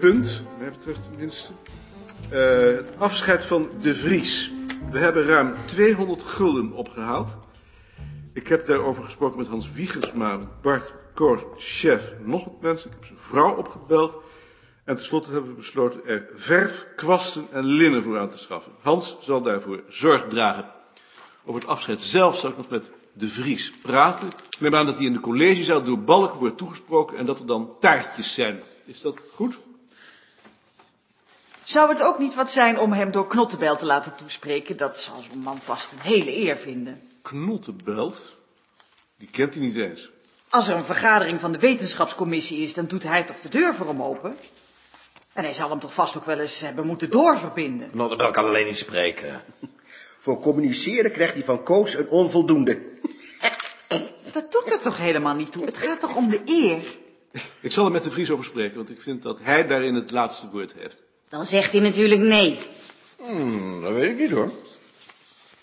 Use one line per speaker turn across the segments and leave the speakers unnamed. punt, wat mij betreft tenminste. Eh, het afscheid van De Vries. We hebben ruim 200 gulden opgehaald. Ik heb daarover gesproken met Hans Wiegersma, met Bart Koos, chef, nog wat mensen. Ik heb zijn vrouw opgebeld. En tenslotte hebben we besloten er verf, kwasten en linnen voor aan te schaffen. Hans zal daarvoor zorg dragen. Over het afscheid zelf zal ik nog met de Vries praten. Ik neem aan dat hij in de collegezaal door Balk wordt toegesproken en dat er dan taartjes zijn. Is dat goed?
Zou het ook niet wat zijn om hem door Knottenbel te laten toespreken? Dat zal zo'n man vast een hele eer vinden.
Knottenbelt? Die kent hij niet eens.
Als er een vergadering van de wetenschapscommissie is, dan doet hij toch de deur voor hem open? En hij zal hem toch vast ook wel eens hebben moeten doorverbinden.
Nottenbel kan alleen niet spreken.
Voor communiceren krijgt hij van Koos een onvoldoende.
Dat doet er toch helemaal niet toe? Het gaat toch om de eer?
Ik zal er met de Vries over spreken, want ik vind dat hij daarin het laatste woord heeft.
Dan zegt hij natuurlijk nee.
Hmm, dat weet ik niet hoor.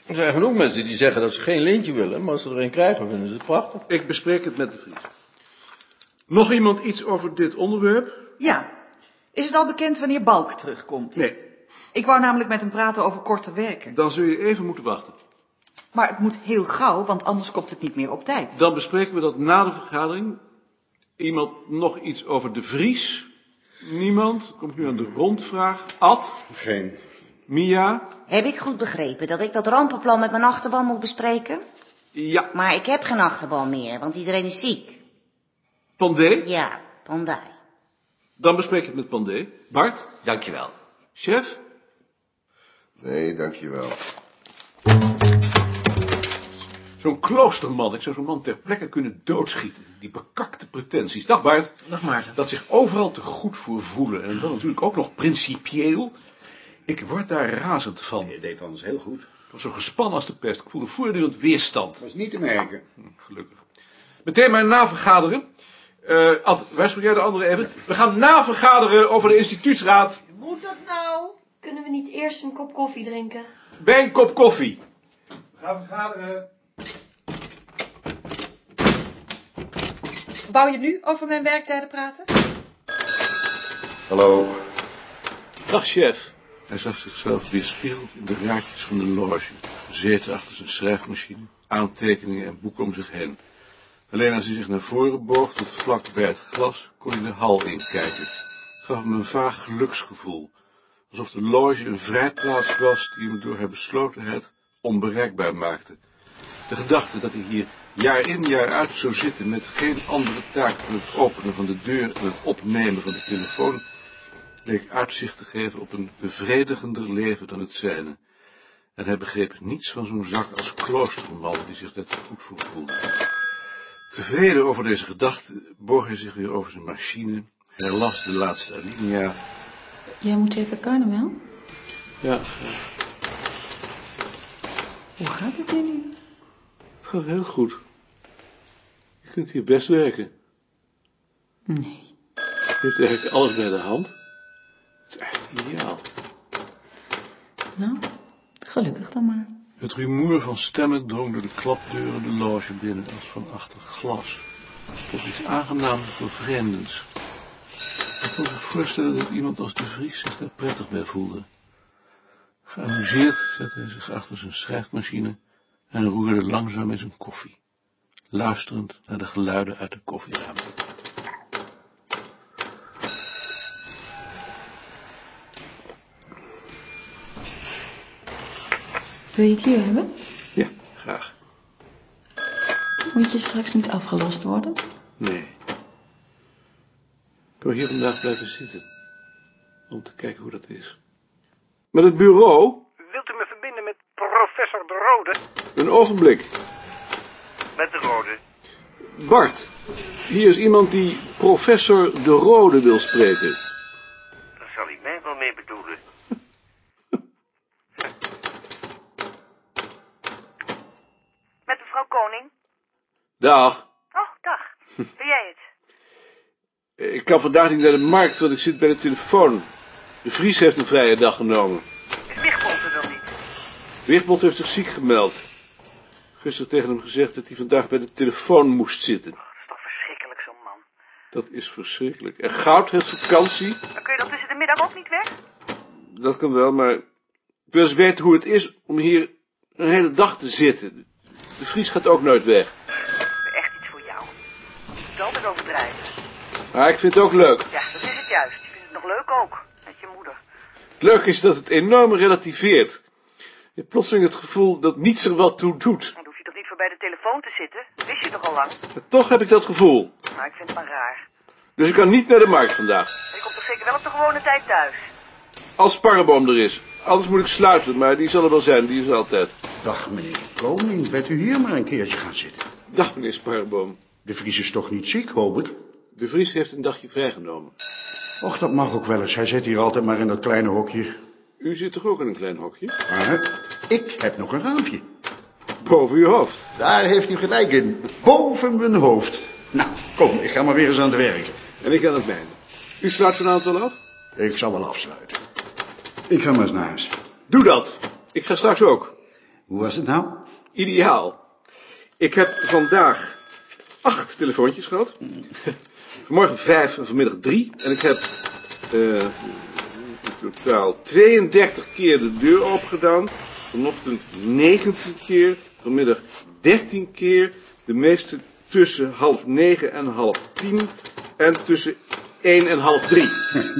Er zijn genoeg mensen die zeggen dat ze geen lintje willen, maar als ze er een krijgen, vinden ze het prachtig.
Ik bespreek het met de Vries. Nog iemand iets over dit onderwerp?
Ja. Is het al bekend wanneer Balk terugkomt?
Nee.
Ik wou namelijk met hem praten over korte werken.
Dan zul je even moeten wachten.
Maar het moet heel gauw, want anders komt het niet meer op tijd.
Dan bespreken we dat na de vergadering. Iemand nog iets over de Vries? Niemand? Komt nu aan de rondvraag. Ad?
Geen.
Mia?
Heb ik goed begrepen dat ik dat rampenplan met mijn achterban moet bespreken?
Ja.
Maar ik heb geen achterban meer, want iedereen is ziek.
Pandé?
Ja, Pandai.
Dan bespreek ik het met Pandé. Bart?
Dankjewel.
Chef?
Nee, dankjewel.
Zo'n kloosterman. Ik zou zo'n man ter plekke kunnen doodschieten. Die bekakte pretenties. Dag Bart.
Dag Maarten.
Dat zich overal te goed voor voelen. En dan natuurlijk ook nog principieel. Ik word daar razend van.
Je deed anders heel goed.
Ik was zo gespannen als de pest. Ik voelde voortdurend weerstand.
Was niet te merken.
Gelukkig. Meteen maar navergaderen. Eh Ad, waarschuw jij de anderen even? We gaan navergaderen over de instituutsraad
Moet dat nou? Kunnen we niet eerst een kop koffie drinken?
bij een kop koffie.
Wou je nu over mijn werktijden praten?
Hallo.
Dag, chef. Hij zag zichzelf weerspiegeld in de raadjes van de loge. Gezeten achter zijn schrijfmachine, aantekeningen en boeken om zich heen. Alleen als hij zich naar voren boog tot vlak bij het glas, kon hij de hal inkijken. Het gaf hem een vaag geluksgevoel. Alsof de loge een vrijplaats was die hem door haar beslotenheid onbereikbaar maakte. De gedachte dat hij hier jaar in jaar uit zou zitten met geen andere taak dan het openen van de deur en het opnemen van de telefoon leek uitzicht te geven op een bevredigender leven dan het zijne. En hij begreep niets van zo'n zak als kloosterman die zich net zo goed voor voelde. Tevreden over deze gedachte boog hij zich weer over zijn machine, herlas de laatste alinea.
Jij moet zeker carnaval?
Ja,
Hoe gaat het hier nu?
het gaat heel goed. Je kunt hier best werken.
Nee.
Je hebt eigenlijk alles bij de hand. Het is eigenlijk ideaal.
Nou, gelukkig dan maar.
Het rumoer van stemmen drong door de klapdeuren de loge binnen als van achter glas. Tot iets aangenaam vervreemdends. Ik kon zich voorstellen dat iemand als de Vries zich daar prettig bij voelde. Geamuseerd zette hij zich achter zijn schrijfmachine en roerde langzaam in zijn koffie, luisterend naar de geluiden uit de koffieruimte.
Wil je het hier hebben?
Ja, graag.
Moet je straks niet afgelost worden?
Nee. Ik wil hier vandaag blijven zitten. Om te kijken hoe dat is. Met het bureau?
Wilt u me verbinden met professor De Rode?
Een ogenblik.
Met De Rode.
Bart, hier is iemand die professor De Rode wil spreken.
Daar zal hij mij wel mee bedoelen.
Met mevrouw Koning.
Dag.
Oh, dag. Ben jij het?
Ik kan vandaag niet naar de markt, want ik zit bij de telefoon. De Vries heeft een vrije dag genomen.
Is Wichtbold er dan niet?
Wichtbold heeft zich ziek gemeld. Gisteren tegen hem gezegd dat hij vandaag bij de telefoon moest zitten.
Dat is toch verschrikkelijk, zo'n man.
Dat is verschrikkelijk. En goud heeft vakantie.
Dan kun je dan tussen de middag ook niet weg?
Dat kan wel, maar ik wil eens weten hoe het is om hier een hele dag te zitten. De Vries gaat ook nooit weg.
Echt iets voor jou. Je moet altijd overdrijven.
Maar ik vind het ook leuk.
Ja, dat is het juist. Je vindt het nog leuk ook. Met je moeder.
Het leuke is dat het enorm relativeert. Je hebt plotseling het gevoel dat niets er wat toe doet.
Dan hoef je toch niet voor bij de telefoon te zitten? Dat wist je toch al lang?
Maar toch heb ik dat gevoel.
Maar ik vind het maar raar.
Dus ik kan niet naar de markt vandaag.
En je komt toch zeker wel op de gewone tijd thuis?
Als Sparreboom er is. Anders moet ik sluiten, maar die zal er wel zijn. Die is er altijd.
Dag, meneer de Koning. Bent u hier maar een keertje gaan zitten?
Dag, meneer Sparreboom.
De Vries is toch niet ziek, hoop ik?
De Vries heeft een dagje vrijgenomen.
Och, dat mag ook wel eens. Hij zit hier altijd maar in dat kleine hokje.
U zit toch ook in een klein hokje?
Maar ik heb nog een raampje.
Boven uw hoofd.
Daar heeft u gelijk in. Boven mijn hoofd. Nou, kom, ik ga maar weer eens aan het werk.
En ik aan het mijne. U sluit vanavond wel af?
Ik zal wel afsluiten. Ik ga maar eens naar huis.
Doe dat. Ik ga straks ook.
Hoe was het nou?
Ideaal. Ik heb vandaag acht telefoontjes gehad. Vanmorgen vijf en vanmiddag drie. En ik heb eh, in totaal 32 keer de deur opgedaan. Vanochtend 19 keer. Vanmiddag 13 keer. De meeste tussen half negen en half tien. En tussen één en half drie.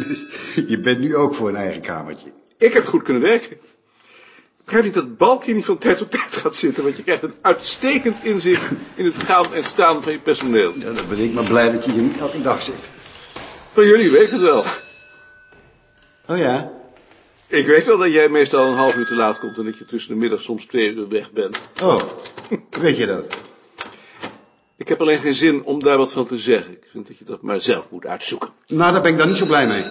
Dus je bent nu ook voor een eigen kamertje.
Ik heb goed kunnen werken. Ik begrijp niet dat Balkje niet van tijd op tijd gaat zitten, want je krijgt een uitstekend inzicht in het gaan en staan van je personeel.
Ja, dan ben ik maar blij dat je hier niet elke dag zit.
Van jullie weet ik het wel.
Oh ja?
Ik weet wel dat jij meestal een half uur te laat komt en dat je tussen de middag soms twee uur weg bent.
Oh, weet je dat?
Ik heb alleen geen zin om daar wat van te zeggen. Ik vind dat je dat maar zelf moet uitzoeken.
Nou, daar ben ik dan niet zo blij mee.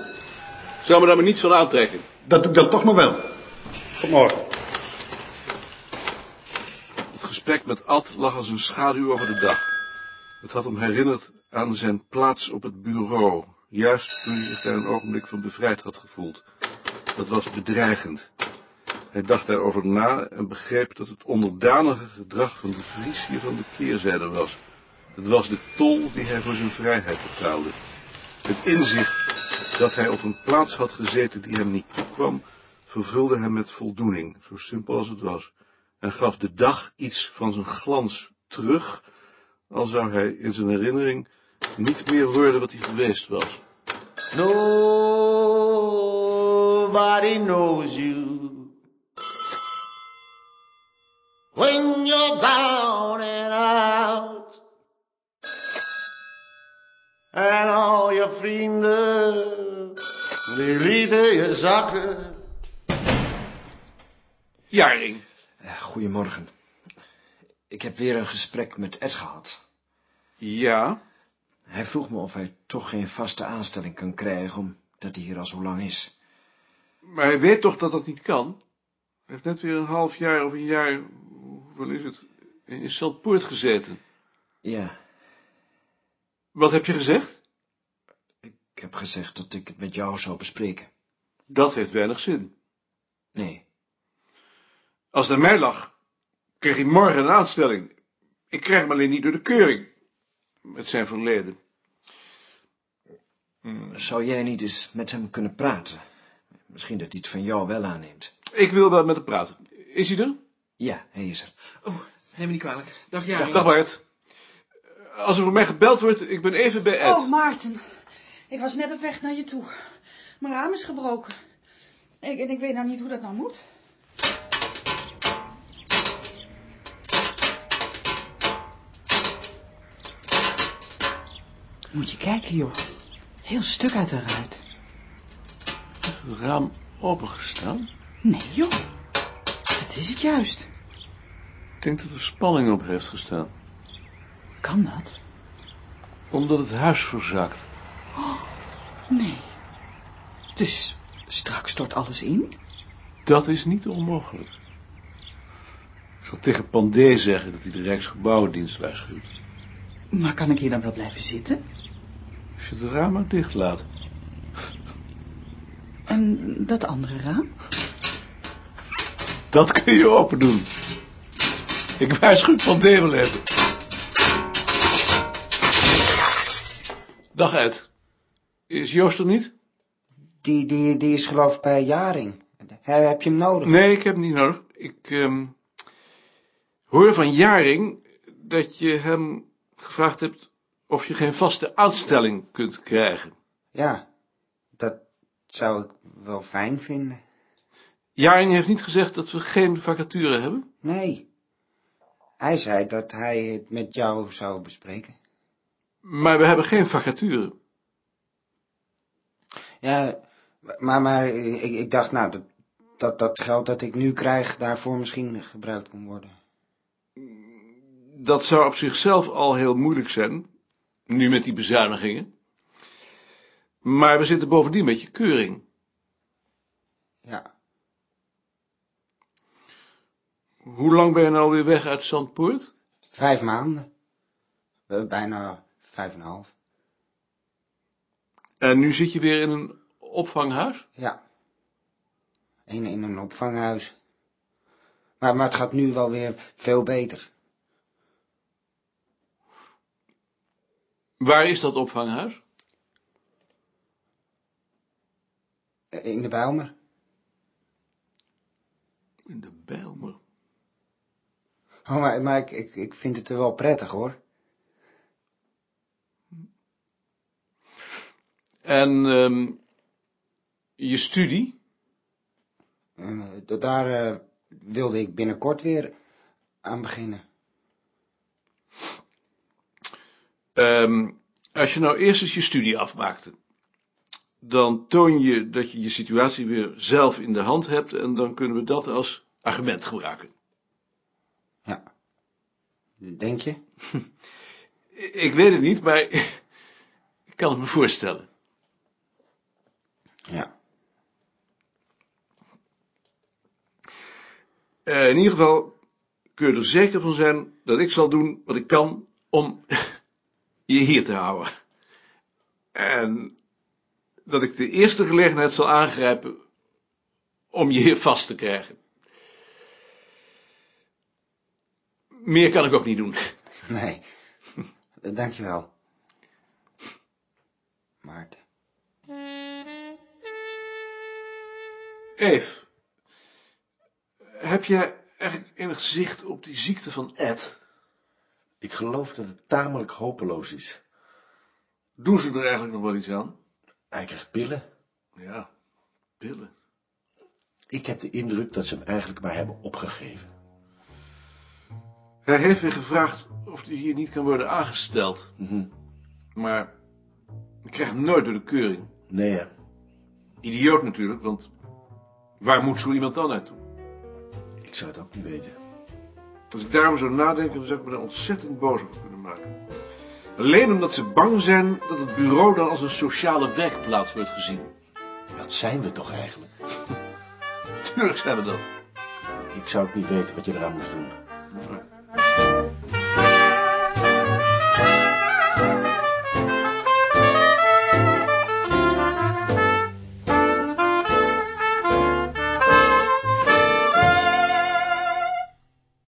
Zou me daar maar niets van aantrekken.
Dat doe ik dan toch maar wel. Tot morgen.
Het gesprek met Ad lag als een schaduw over de dag. Het had hem herinnerd aan zijn plaats op het bureau, juist toen hij zich daar een ogenblik van bevrijd had gevoeld. Dat was bedreigend. Hij dacht daarover na en begreep dat het onderdanige gedrag van de Vries hier van de keerzijde was. Het was de tol die hij voor zijn vrijheid betaalde. Het inzicht dat hij op een plaats had gezeten die hem niet toekwam, vervulde hem met voldoening, zo simpel als het was, en gaf de dag iets van zijn glans terug, al zou hij in zijn herinnering niet meer worden wat hij geweest was.
Nobody knows you when you're down and out, and all je vrienden die lieden je zakken.
Jaring.
Goedemorgen. Ik heb weer een gesprek met Ed gehad.
Ja?
Hij vroeg me of hij toch geen vaste aanstelling kan krijgen, omdat hij hier al zo lang is.
Maar hij weet toch dat dat niet kan? Hij heeft net weer een half jaar of een jaar, hoeveel is het, in Saltpoort gezeten.
Ja,
Wat heb je gezegd?
ik heb gezegd dat ik het met jou zou bespreken.
Dat heeft weinig zin.
Nee,
Als het aan mij lag, kreeg hij morgen een aanstelling. Ik krijg hem alleen niet door de keuring. Met zijn verleden.
zou jij niet eens met hem kunnen praten? Misschien dat hij het van jou wel aanneemt.
Ik wil wel met hem praten. Is hij er?
Ja, hij is er.
Neem me niet kwalijk. Dag,
Dag,
Jaring.
dag Bart. Als er voor mij gebeld wordt, ik ben even bij Ed.
Oh, Maarten. Ik was net op weg naar je toe. Mijn raam is gebroken. Ik, en ik weet nou niet hoe dat nou moet.
Moet je kijken, joh. Heel stuk uit de ruit.
Heeft het raam opengestaan?
Nee, joh. Dat is het juist.
Ik denk dat er spanning op heeft gestaan.
Kan dat?
Omdat het huis verzakt.
Oh, nee. Dus straks stort alles in?
Dat is niet onmogelijk. Ik zal tegen Pandé zeggen dat hij de Rijksgebouwendienst waarschuwt.
Maar kan ik hier dan wel blijven zitten?
Als je het raam maar dicht laat.
En dat andere raam?
Dat kun je open doen. Ik waarschuw Pandé wel even. Dag Ed. Is Joost er niet?
Die, die, die is geloof ik bij Jaring. He- heb je hem nodig?
Nee, ik heb hem niet nodig. Ik ehm, hoor van Jaring dat je hem gevraagd hebt of je geen vaste aanstelling kunt krijgen.
Ja, dat zou ik wel fijn vinden.
Jaring heeft niet gezegd dat we geen vacature hebben.
Nee. Hij zei dat hij het met jou zou bespreken.
Maar we hebben geen vacature.
Ja, maar, maar ik, ik dacht, nou, dat, dat dat geld dat ik nu krijg daarvoor misschien gebruikt kon worden.
Dat zou op zichzelf al heel moeilijk zijn, nu met die bezuinigingen. Maar we zitten bovendien met je keuring.
Ja.
Hoe lang ben je nou weer weg uit Zandpoort?
Vijf maanden. Eh, Bijna vijf en een half.
En nu zit je weer in een opvanghuis?
Ja. In, in een opvanghuis. Maar, maar het gaat nu wel weer veel beter.
Waar is dat opvanghuis?
Eh, In de Bijlmer.
In de Bijlmer.
Oh, maar maar ik, ik, ik vind het er wel prettig hoor.
En ehm, je studie?
Eh, da- daar eh, wilde ik binnenkort weer aan beginnen.
Ehm, als je nou eerst eens je studie afmaakte, dan toon je dat je je situatie weer zelf in de hand hebt en dan kunnen we dat als argument gebruiken.
Denk je?
I- Ik weet het niet, maar ik kan het me voorstellen.
Ja.
Eh, in ieder geval kun je er zeker van zijn dat ik zal doen wat ik kan om je hier te houden. En dat ik de eerste gelegenheid zal aangrijpen om je hier vast te krijgen. Meer kan ik ook niet doen.
Nee. Dankjewel. Maarten.
Eve, heb jij eigenlijk enig zicht op die ziekte van Ed?
Ik geloof dat het tamelijk hopeloos is.
Doen ze er eigenlijk nog wel iets aan?
Hij krijgt pillen.
Ja, pillen.
Ik heb de indruk dat ze hem eigenlijk maar hebben opgegeven.
Hij heeft weer gevraagd of hij hier niet kan worden aangesteld.
Mhm.
Maar ik krijg hem nooit door de keuring.
Nee, hè?
Idioot natuurlijk, want waar moet zo iemand dan naartoe?
Ik zou het ook niet weten.
Als ik daarover zou nadenken, dan zou ik me daar ontzettend boos over kunnen maken. Alleen omdat ze bang zijn dat het bureau dan als een sociale werkplaats wordt gezien.
Dat zijn we toch eigenlijk?
Tuurlijk zijn we dat.
Ik zou het niet weten wat je eraan moest doen.